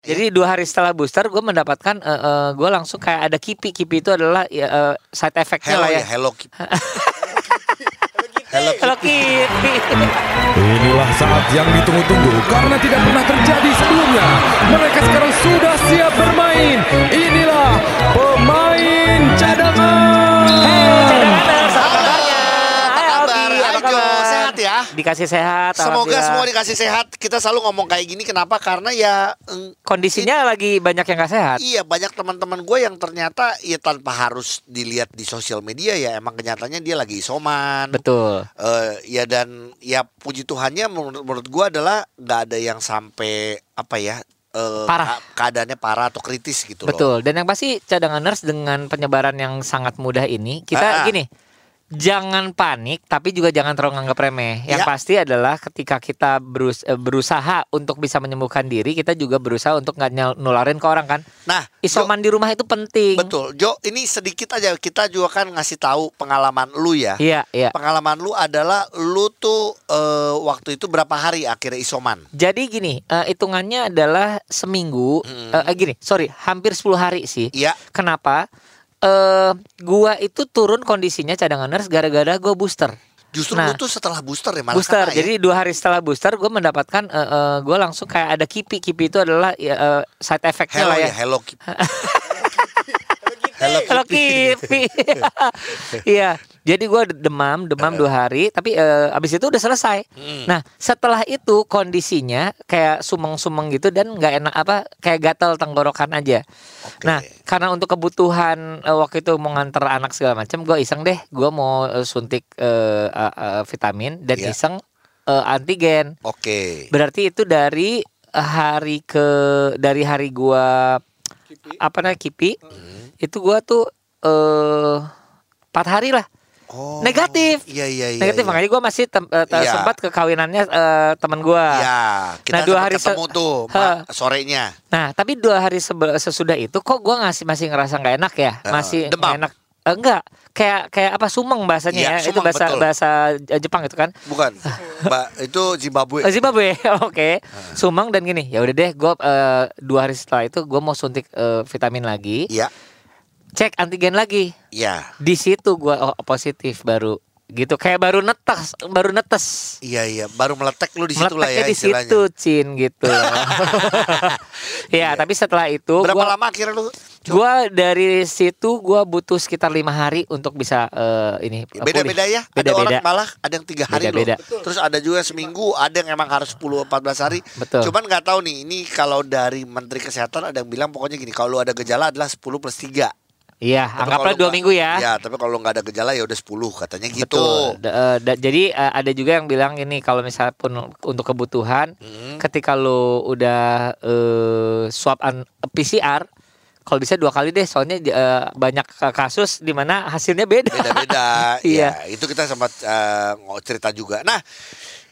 Iya. Jadi dua hari setelah booster, gue mendapatkan, eh eh, gue langsung kayak ada kipi. Kipi itu adalah ya, eh, side effect-nya Hello lah ya, ya. hello. Kip. hello. Kip. Kalau kipi. Inilah saat yang ditunggu-tunggu karena tidak pernah terjadi sebelumnya. Mereka sekarang sudah siap bermain. Inilah pemain cadangan. Cadanganers, apa kabarnya? Hai, Apa Aldi, kabar? apa Hai, Jo. kabar? Sehat ya? Dikasih sehat. Semoga alhamdulillah. semua dikasih sehat. Kita selalu ngomong kayak gini kenapa? Karena ya eng- Kondisinya lagi banyak yang gak sehat. Iya banyak teman-teman gue yang ternyata ya tanpa harus dilihat di sosial media ya emang kenyataannya dia lagi isoman. Betul. Eh, ya dan ya puji Tuhannya menurut, menurut gue adalah nggak ada yang sampai apa ya eh, Parah. ka- keadaannya parah atau kritis gitu loh. Betul. Dan yang pasti cadangan nurse dengan penyebaran yang sangat mudah ini, kita Ah, ah. gini, jangan panik tapi juga jangan terlalu nganggap remeh. Yang Ya. pasti adalah ketika kita berus- eh, berusaha untuk bisa menyembuhkan diri, kita juga berusaha untuk nggak nyal- nularin ke orang kan. Nah Jo, Isoman di rumah itu penting. betul Jo ini sedikit aja kita juga kan ngasih tahu pengalaman lu ya. Iya, iya. Pengalaman lu adalah lu tuh eh, waktu itu berapa hari akhirnya isoman? Jadi gini, eh, hitungannya adalah seminggu. Eh, eh, gini, sorry, hampir 10 hari sih. Hmm. Iya. Kenapa? Eh, gua itu turun kondisinya cadangan nurse gara-gara gue booster. Justru Nah. lu tuh setelah booster ya malah booster. kena ya? Jadi dua hari setelah booster, gue mendapatkan, eh, eh, gue langsung kayak ada kipi. Kipi itu adalah ya, eh, side effect-nya Hello lah ya. ya, hello Kip. hello Kalau kipi, iya. Jadi gue demam, demam dua hari, tapi eh, abis itu udah selesai. Hmm. Nah, setelah itu kondisinya kayak sumeng-sumeng gitu dan nggak enak apa, kayak gatal tenggorokan aja. Oke. Nah, karena untuk kebutuhan eh, waktu itu mau nganter anak segala macam, gue iseng deh, gue mau eh, suntik eh, eh, eh, vitamin dan Iya. iseng eh, antigen. Oke. Berarti itu dari eh, hari ke dari hari gua apa namanya kipi Hmm. itu gua tuh eh empat hari lah Oh. negatif Iya iya iya. negatif iya. makanya gua masih tem- eh, te- Iya. sempat ke kawinannya eh, teman gua Iya, kita Nah, dua sempat hari se- ketemu tuh Hah. ma- sorenya. nah tapi dua hari sebe- sesudah itu kok gua ngasih masih ngerasa nggak enak ya Eh, masih demam. nggak enak Eh, enggak kayak kayak apa sumeng bahasanya Iya, ya itu sumeng, bahasa betul. bahasa eh, Jepang itu kan Bukan. Mbak itu Zimbabwe. Eh, Zimbabwe, oke. Sumang dan gini, ya udah deh, gue dua hari setelah itu gue mau suntik eh, vitamin lagi, Iya. cek antigen lagi. Iya. Di situ gue positif baru, gitu. Kayak baru netes, baru netes. Iya iya, baru meletek lu di situ lah Meletaknya ya di istilahnya. Iya. situ, Cin, gitu. ya, tapi setelah itu Berapa gua, lama akhirnya lu? gua dari situ gue butuh sekitar lima hari untuk bisa eh, ini eh, Beda-beda pulih. ya. ada Beda-beda. orang malah ada yang tiga hari Beda-beda. loh. Terus ada juga seminggu, ada yang emang harus 10 14 hari. Betul. Cuman nggak tahu nih, ini kalau dari Menteri Kesehatan ada yang bilang pokoknya gini, kalau lu ada gejala adalah 10 plus 3. Iya, Tapi anggaplah kalau dua nggak- minggu ya. Ya, tapi kalau nggak ada gejala ya udah 10 katanya gitu. Betul. Da- eh, da- jadi eh, ada juga yang bilang ini kalau misalnya pun untuk kebutuhan, Hmm. ketika lo udah eh, swab an- PCR, kalau bisa dua kali deh, soalnya eh, banyak eh, kasus di mana hasilnya beda. Beda-beda. Iya. ya, itu kita sempat eh, ngo- cerita juga. Nah,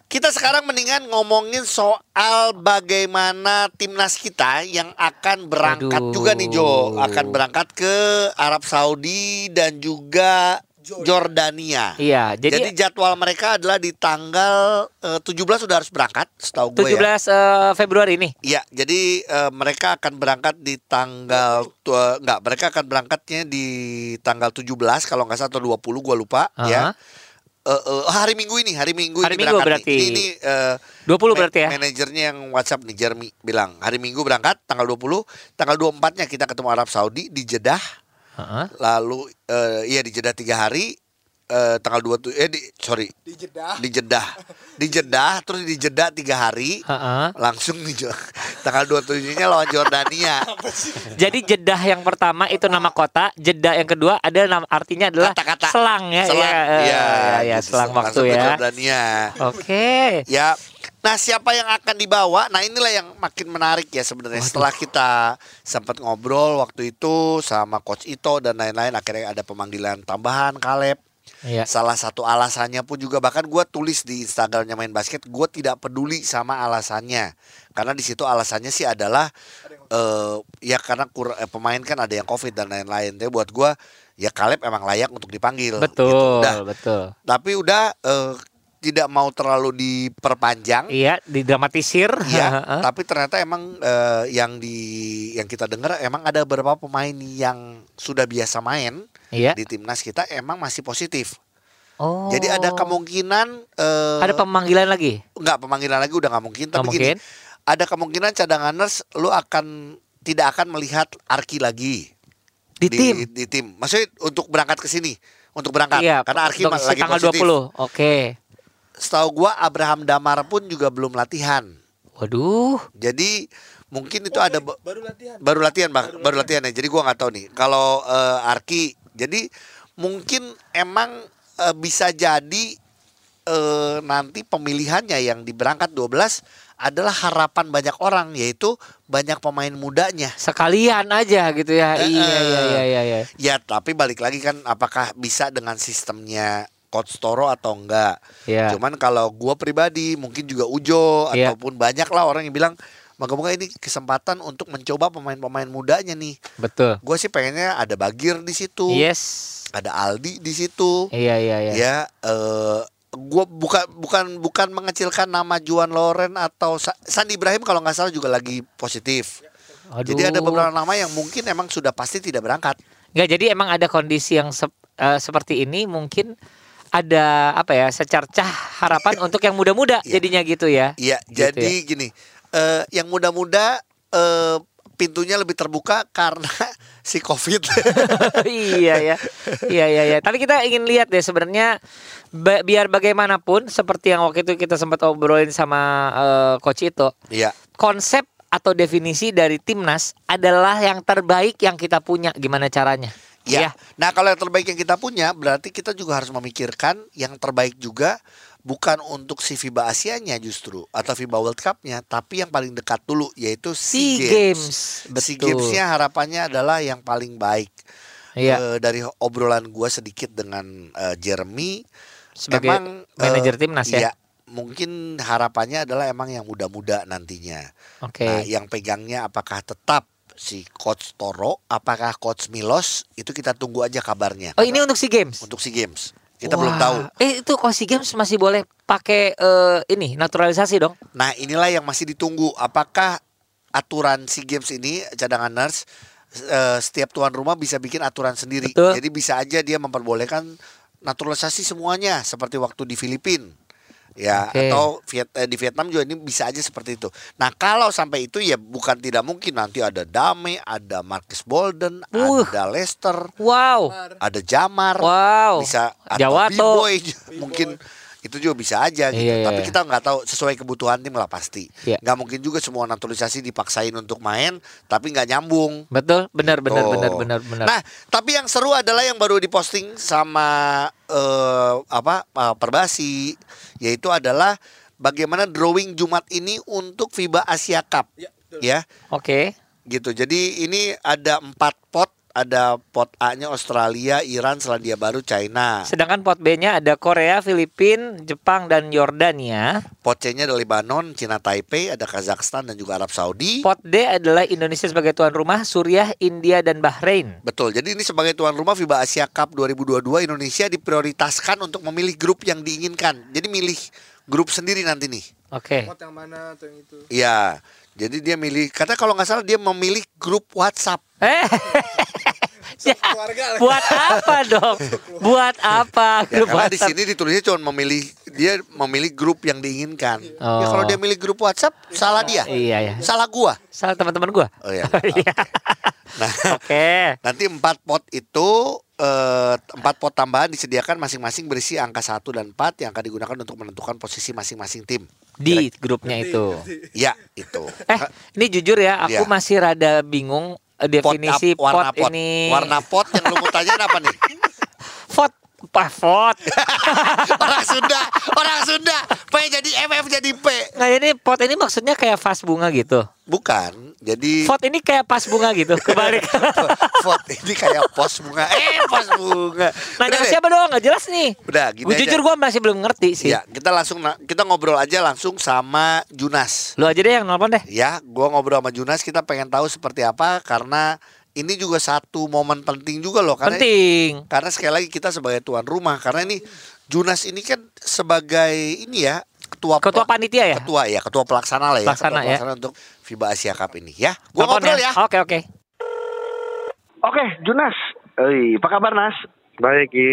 kita sekarang mendingan ngomongin soal bagaimana timnas kita yang akan berangkat Aduh. juga nih Jo, akan berangkat ke Arab Saudi dan juga Jordania. Iya, Jadi, jadi, jadwal mereka adalah di tanggal eh, 17 sudah harus berangkat, setahu 17 gue ya. eh, Februari ini. Iya, jadi eh, mereka akan berangkat di tanggal tua enggak, mereka akan berangkatnya di tanggal 17 kalau nggak salah atau 20 gua lupa Aha. ya. Eh, eh, hari Minggu ini, hari Minggu Hari ini Minggu berangkat nih. berarti. Ini, ini eh, 20 ma- berarti ya. Manajernya yang WhatsApp nih Jeremy bilang, hari Minggu berangkat tanggal 20, tanggal 24-nya kita ketemu Arab Saudi di Jeddah, Heeh. lalu eh, iya di Jeddah tiga hari eh, tanggal 20 eh di, sorry, di Jeddah di Jeddah. Di Jeddah terus di Jeddah tiga hari Heeh. langsung nih Jo. tanggal 27-nya lawan Jordania. Jadi Jeddah yang pertama itu nama kota, Jeddah yang kedua ada nama artinya adalah Kata-kata. selang ya, Selang. iya, ya, eh, ya, ya, gitu. selang waktu langsung ke ya. Jordania. Oke. Ya. Nah, siapa yang akan dibawa? Nah, inilah yang makin menarik ya sebenarnya. Setelah kita sempat ngobrol waktu itu sama coach Ito dan lain-lain akhirnya ada pemanggilan tambahan Kaleb. Iya. Salah satu alasannya pun juga bahkan gue tulis di Instagramnya main basket, gue tidak peduli sama alasannya, karena di situ alasannya sih adalah eh ya karena kur- eh, pemain kan ada yang covid dan lain-lain. Tapi buat gue ya Kaleb emang layak untuk dipanggil. gitu. Betul, Udah. betul. Tapi udah eh, tidak mau terlalu diperpanjang. Iya, didramatisir. Ya, Heeh. tapi ternyata emang eh, yang di yang kita dengar emang ada beberapa pemain yang sudah biasa main Iya. di timnas kita emang masih positif. Oh. Jadi ada kemungkinan eh, Ada pemanggilan lagi? nggak pemanggilan lagi udah nggak mungkin. Nggak Tapi mungkin. gini, ada kemungkinan cadanganers lu akan tidak akan melihat Arki lagi Di, tim. di tim. Maksudnya untuk berangkat ke sini, untuk berangkat Iya, karena Arki dok- lagi tanggal positif. 20. Oke. Setahu gua Abraham Damar pun juga belum latihan. Waduh. Jadi mungkin itu ada be- baru latihan. baru latihan bang baru, latihan ya jadi gua nggak tahu nih kalau eh, Arki jadi mungkin emang eh, bisa jadi eh, nanti pemilihannya yang diberangkat 12 adalah harapan banyak orang yaitu banyak pemain mudanya Sekalian aja gitu ya. Eh, Iya, iya, eh. iya, iya, iya. ya tapi balik lagi kan apakah bisa dengan sistemnya Coach Toro atau enggak Iya. cuman kalau gua pribadi mungkin juga Ujo Iya. ataupun banyak lah orang yang bilang Moga-moga ini kesempatan untuk mencoba pemain-pemain mudanya nih. Betul. Gue sih pengennya ada Bagir di situ. Yes. ada Aldi di situ. Iya, iya, iya. Ya, eh gua bukan bukan bukan mengecilkan nama Juan Loren atau Sa- Sandi Ibrahim kalau nggak salah juga lagi positif. Aduh. Jadi ada beberapa nama yang mungkin emang sudah pasti tidak berangkat. Nggak, jadi emang ada kondisi yang sep- eh, seperti ini mungkin ada apa ya secercah harapan untuk yang muda-muda Iya. jadinya gitu ya. Iya, Gitu jadi gini, eh yang muda-muda eh pintunya lebih terbuka karena si Covid. iya ya. Iya iya iya. Tapi kita ingin lihat deh sebenarnya ba- biar bagaimanapun seperti yang waktu itu kita sempat obrolin sama eh, coach itu, Iya. konsep atau definisi dari timnas adalah yang terbaik yang kita punya. Gimana caranya? Iya. Ya. Nah, kalau yang terbaik yang kita punya, berarti kita juga harus memikirkan yang terbaik juga bukan untuk si FIBA Asianya justru atau FIBA World Cup-nya, tapi yang paling dekat dulu yaitu SEA Games. Betul. SEA Games-nya harapannya adalah yang paling baik. Iya. Eh, dari obrolan gua sedikit dengan eh, Jeremy Sebagai eh, manajer timnas ya? iya, mungkin harapannya adalah emang yang muda-muda nantinya. Oke. Nah, yang pegangnya apakah tetap si coach Toro, apakah coach Milos itu kita tunggu aja kabarnya. Oh, ini untuk SEA Games. untuk si games kita Wah. belum tahu. Eh itu kalau SEA Games masih boleh pakai eh, ini naturalisasi dong. Nah inilah yang masih ditunggu. Apakah aturan si games ini cadangan nurse eh, setiap tuan rumah bisa bikin aturan sendiri. Betul. Jadi bisa aja dia memperbolehkan naturalisasi semuanya seperti waktu di Filipina. Ya, Oke. atau Viet- eh, di Vietnam juga ini bisa aja seperti itu. Nah, kalau sampai itu ya bukan tidak mungkin nanti ada Dame, ada Marcus Bolden, Uh. ada Lester, Wow. ada Jamar. Wow. bisa atau Jawato. B-boy mungkin itu juga bisa aja gitu. Iya, iya, Tapi iya. kita nggak tahu sesuai kebutuhan tim lah pasti. Iya. Nggak mungkin juga semua naturalisasi dipaksain untuk main tapi nggak nyambung. Betul, benar benar Tuh. benar benar benar. Nah, tapi yang seru adalah yang baru diposting sama eh, apa eh, Perbasi yaitu adalah bagaimana drawing Jumat ini untuk FIBA Asia Cup. Ya, betul. Ya Oke. gitu. Jadi ini ada empat pot, ada pot A-nya Australia, Iran, Selandia Baru, China. Sedangkan pot B-nya ada Korea, Filipina, Jepang dan Yordania. Pot C-nya ada Lebanon, Cina Taipei, ada Kazakhstan dan juga Arab Saudi. Pot D adalah Indonesia sebagai tuan rumah, Suriah, India dan Bahrain. Betul. Jadi ini sebagai tuan rumah FIBA Asia Cup 2022 Indonesia diprioritaskan untuk memilih grup yang diinginkan. Jadi milih grup sendiri nanti nih. Oke. Pot yang mana atau yang itu? Iya. Jadi dia milih kata kalau nggak salah dia memilih grup WhatsApp. Eh, So, keluarga lah. buat apa dong? Buat apa? Ya, Grup karena di WhatsApp? sini ditulisnya cuma memilih dia memilih grup yang diinginkan. Ya Oh. kalau dia milih grup WhatsApp salah dia. Iya ya. Salah gua. Salah teman-teman gua. Oh iya. Iya. Nah, Oke. Nanti empat pot itu eh, empat pot tambahan disediakan masing-masing berisi angka 1 dan 4 yang akan digunakan untuk menentukan posisi masing-masing tim. Di grupnya itu. Ya, itu. Eh, ini jujur ya, aku Iya. masih rada bingung eh, definisi ap- pot, warna pot. ini. Warna pot yang lu mau tanyain apa nih? pot Pak, pot. Orang Sunda, orang Sunda. P jadi MF jadi P. Nah, ini pot ini maksudnya kayak vas bunga gitu. Bukan. Jadi Pot ini kayak pas bunga gitu, kebalik. pot ini kayak pos bunga. Eh, pos bunga. Nanya Udah deh. siapa dong? Gak jelas nih. Udah, gini Gua aja. jujur gua masih belum ngerti sih. Ya, kita langsung na- kita ngobrol aja langsung sama Junas. Lu aja deh yang nelpon deh. Ya, gua ngobrol sama Junas kita pengen tahu seperti apa karena ini juga satu momen penting juga loh karena Penting. karena sekali lagi kita sebagai tuan rumah karena ini Junas ini kan sebagai ini ya ketua Ketua pelak- panitia ya? ketua ya ketua pelaksana lah ya Pelaksana ketua ya. pelaksana untuk FIBA Asia Cup ini ya gua Telepon ngobrol ya Oke oke. Oke, Junas. Oi, apa kabar Nas? Baik, Ki.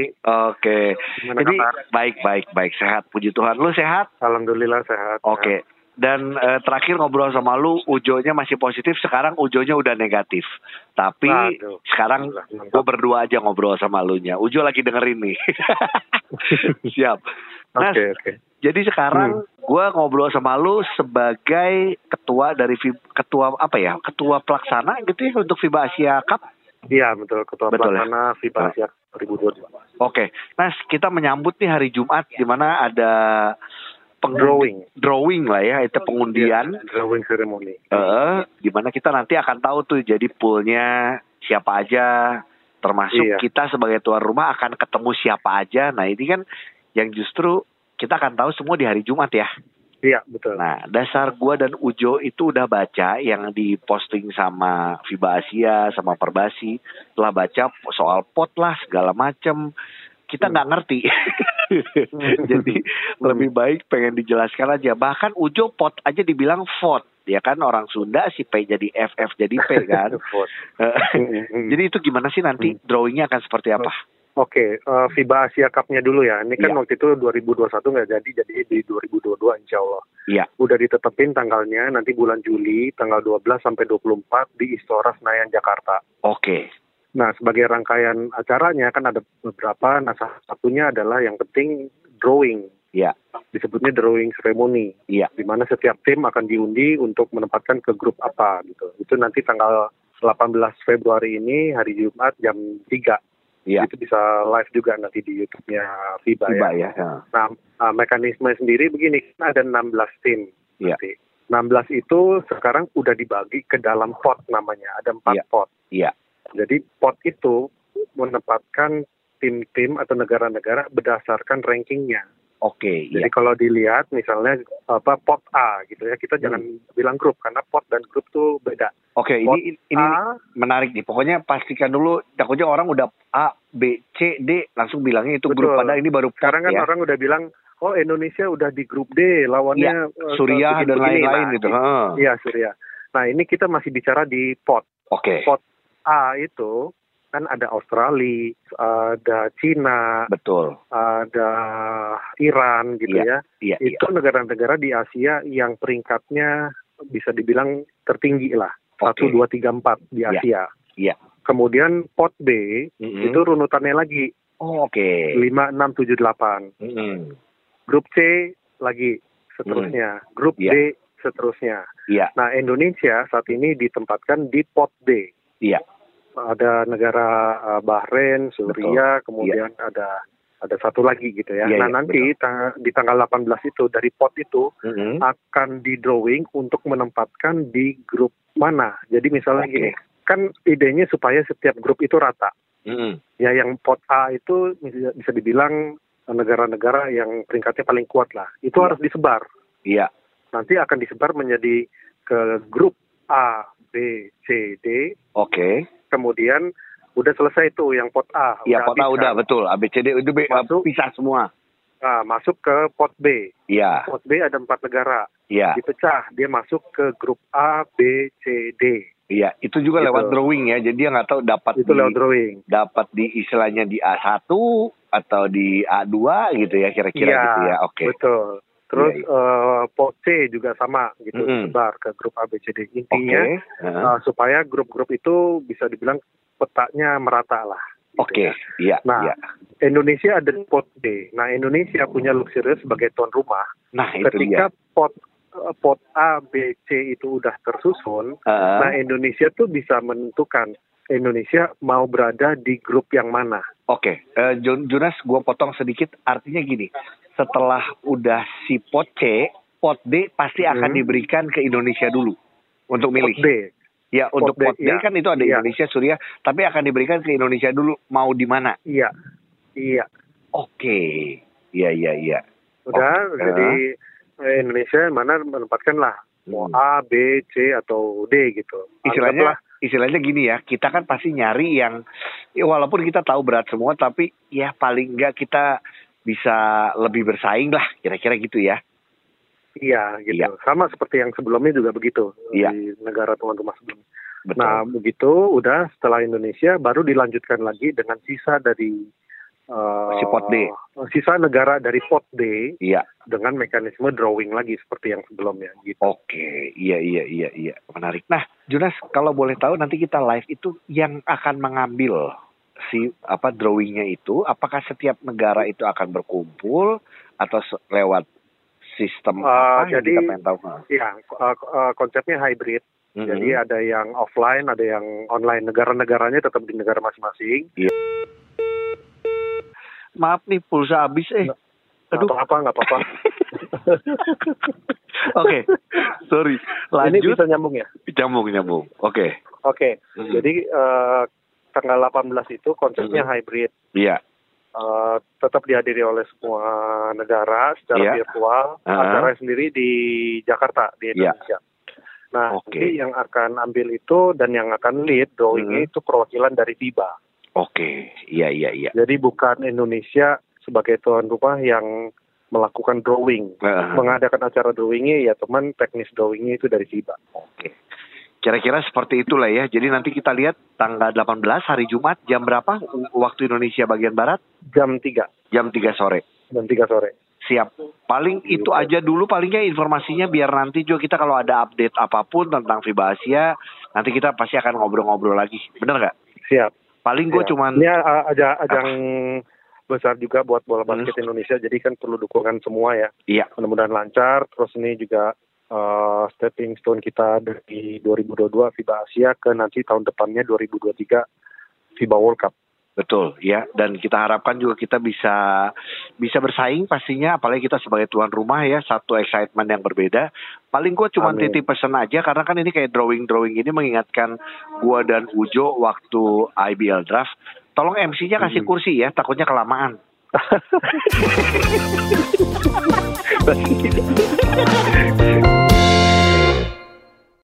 Oke. Gimana Jadi kabar? baik baik baik sehat puji Tuhan. Lu sehat? Alhamdulillah sehat. Oke. Dan eh, terakhir ngobrol sama lu, ujonya masih positif, sekarang ujonya udah negatif. Tapi Waduh. sekarang Alhamdulillah. gue berdua aja ngobrol sama lu nya. Ujo lagi dengerin nih. Siap. Nas, Oke, Hmm. oke. jadi sekarang gua ngobrol sama lu sebagai ketua dari Fi- ketua apa ya? Ketua pelaksana gitu ya untuk FIBA Asia Cup. Iya, betul. Ketua Betul ya? pelaksana FIBA Asia 2022. Oke, Nas, kita menyambut nih hari Jumat di mana ada peng- Drawing. Iya. drawing lah ya, itu pengundian. Drawing ceremony. Eh, di mana kita nanti akan tahu tuh jadi poolnya siapa aja, termasuk Iya. kita sebagai tuan rumah akan ketemu siapa aja. Nah ini kan yang justru kita akan tahu semua di hari Jumat ya. Iya, betul. Nah, dasar gua dan Ujo itu udah baca yang diposting sama FIBA Asia, sama Perbasi, telah baca soal pot lah segala macem. Kita nggak ngerti. Jadi lebih baik pengen dijelaskan aja. Bahkan Ujo pot aja dibilang vote, ya kan orang Sunda si P jadi F, F jadi P kan. Vote. Jadi itu gimana sih nanti drawingnya akan seperti apa? Oke, eh, FIBA Asia Cup-nya dulu ya. Ini kan Iya. waktu itu 2021 nggak jadi, jadi di 2022 insya Allah. Iya. Udah ditetepin tanggalnya, nanti bulan Juli, tanggal 12 sampai 24 di Istora Senayan, Jakarta. Oke. Nah, sebagai rangkaian acaranya kan ada beberapa. Nah, salah satunya adalah yang penting drawing. Iya. Disebutnya drawing ceremony. Iya. Di mana setiap tim akan diundi untuk menempatkan ke grup apa gitu. Itu nanti tanggal 18 Februari ini hari Jumat jam 3. Iya. Itu bisa live juga nanti di YouTube-nya FIBA, FIBA ya. ya. ya. Nah, eh, mekanisme sendiri begini, kan ada 16 tim. Iya. nanti. 16 itu sekarang udah dibagi ke dalam pot namanya, ada empat Iya. pot. Iya. Jadi pot itu menempatkan tim-tim atau negara-negara berdasarkan rankingnya. Oke. Jadi Iya. kalau dilihat misalnya apa pot A gitu ya, kita Hmm. jangan bilang grup karena pot dan grup tuh beda. Oke. Pot Ini ini A, menarik nih. Pokoknya pastikan dulu takutnya orang udah A, B, C, D langsung bilangnya itu grup Betul. padahal ini baru pot sekarang kan ya. orang udah bilang oh Indonesia udah di grup D, lawannya eh, Iya. Suriah dan begini-begini. lain-lain Nah, gitu. Heeh. Iya, Surya. Nah, ini kita masih bicara di pot. Oke. Pot. A itu kan ada Australia, ada Cina, Betul. ada Iran gitu ya. Iya, iya. itu negara-negara di Asia yang peringkatnya bisa dibilang tertinggi lah satu Oke. dua tiga empat di Iya. Asia. Iya. Kemudian pot B Mm-mm. itu runutannya lagi Oh, oke. lima enam tujuh delapan. Mm-mm. Grup C lagi seterusnya. Grup Iya. D seterusnya. Iya. Nah Indonesia saat ini ditempatkan di pot D. Iya. Ada negara eh, Bahrain, Suriah, kemudian ada ada satu lagi gitu ya. Iya, nah iya, nanti tang- di tanggal 18 itu dari pot itu Mm-mm. akan di drawing untuk menempatkan di grup mana. Jadi misalnya Oke. gini, kan idenya supaya setiap grup itu rata. Mm-mm. Ya yang pot A itu bisa bisa dibilang negara-negara yang peringkatnya paling kuat lah. Itu Iya. harus disebar. Iya. Nanti akan disebar menjadi ke grup A, B, C, D. Oke. Kemudian udah selesai tuh yang pot A. Iya, kota habis udah kan. betul. A B C D itu B- Masuk. pisah semua. Nah, masuk ke pot B. Iya. Pot B ada empat negara. Iya. Dipecah, dia masuk ke grup A, B, C, D. Iya, itu juga Gitu. lewat drawing ya. Jadi dia nggak tahu dapat Itu di- lewat drawing. dapat di istilahnya di A1 atau di A2 gitu ya kira-kira Iya, gitu ya. Oke. Betul. Terus Iya, eh, pot C juga sama gitu, Mm-mm. sebar ke grup A, B, C, D. Oke. Intinya Heeh. eh, supaya grup-grup itu bisa dibilang petanya merata lah. gitu Oke, ya. iya, Nah, iya. Indonesia ada di pot D. Nah, Indonesia punya luxurious sebagai tuan rumah. Nah, itu dia. Ketika pot eh, pot A, B, C itu udah tersusun, Heeh. nah Indonesia tuh bisa menentukan Indonesia mau berada di grup yang mana. Oke, eh, Jun- Junas, gue potong sedikit. Artinya gini, setelah udah si pot C, pot D pasti akan Hmm. diberikan ke Indonesia dulu untuk Pot milih. D. Ya, Pot untuk D, pot D iya. kan itu ada Iya. Indonesia, Suriah, tapi akan diberikan ke Indonesia dulu. Mau di mana? Iya. Iya. Oke, iya iya iya. Udah, Oke. jadi eh, Indonesia yang mana menempatkan lah mau Hmm. A, B, C atau D gitu. Istilahnya, istilahnya gini ya, kita kan pasti nyari yang, ya walaupun kita tahu berat semua, tapi ya paling enggak kita bisa lebih bersaing lah kira-kira gitu ya. Iya gitu. Iya. Sama seperti yang sebelumnya juga begitu Iya. di negara tuan rumah sebelumnya. Betul. Nah begitu udah setelah Indonesia baru dilanjutkan lagi dengan sisa dari eh, Si pot D. Sisa negara dari pot D iya. dengan mekanisme drawing lagi seperti yang sebelumnya gitu. Oke, iya iya iya iya, menarik. Nah, Jonas, kalau boleh tahu nanti kita live itu yang akan mengambil si apa drawingnya itu, apakah setiap negara itu akan berkumpul atau se- lewat sistem Ah, apa yang jadi- kita pengen tahu? Hmm. Nah, Iya, eh, eh, konsepnya hybrid. mm-mm. Jadi ya- ada yang offline, ada yang online. Negara-negaranya tetap di negara masing-masing. maaf nih pulsa habis eh. Aduh. Atau apa nggak apa-apa. Oke, sorry. Ini Lanjut. bisa nyambung ya. Nyambung nyambung. Oke. Oke. Mm-mm. Jadi eh, tanggal 18 itu konsepnya hybrid. Iya. Eh, tetap dihadiri oleh semua negara secara Iya. virtual. Ah. Acara sendiri di Jakarta di Iya. Indonesia. Nah, Oke. nanti yang akan ambil itu dan yang akan lead drawingnya Mm. itu perwakilan dari FIBA. Oke. Iya iya iya. Jadi bukan Indonesia sebagai tuan rumah yang melakukan drawing. Ah. Mengadakan acara drawingnya ya teman teknis drawingnya itu dari FIBA. Oke. Kira-kira seperti itulah ya. Jadi nanti kita lihat tanggal 18 hari Jumat jam berapa w- waktu Indonesia bagian barat? Jam 3, Jam 3 sore. jam 3 sore. Siap. Paling itu aja dulu palingnya informasinya biar nanti juga kita kalau ada update apapun tentang FIBA Asia, nanti kita pasti akan ngobrol-ngobrol lagi. Bener nggak? Siap. Paling gue Iya. cuman Ah. ini uh, aja ajang besar juga buat bola basket Hmm. Indonesia jadi kan perlu dukungan semua ya iya. mudah-mudahan lancar terus ini juga uh, stepping stone kita dari 2022 FIBA Asia ke nanti tahun depannya 2023 FIBA World Cup Betul ya dan kita harapkan juga kita bisa bisa bersaing pastinya apalagi kita sebagai tuan rumah ya satu excitement yang berbeda. Paling gue cuma Amin. titip pesan aja karena kan ini kayak drawing-drawing ini mengingatkan gua dan Ujo waktu IBL draft. Tolong MC-nya kasih kursi ya takutnya kelamaan.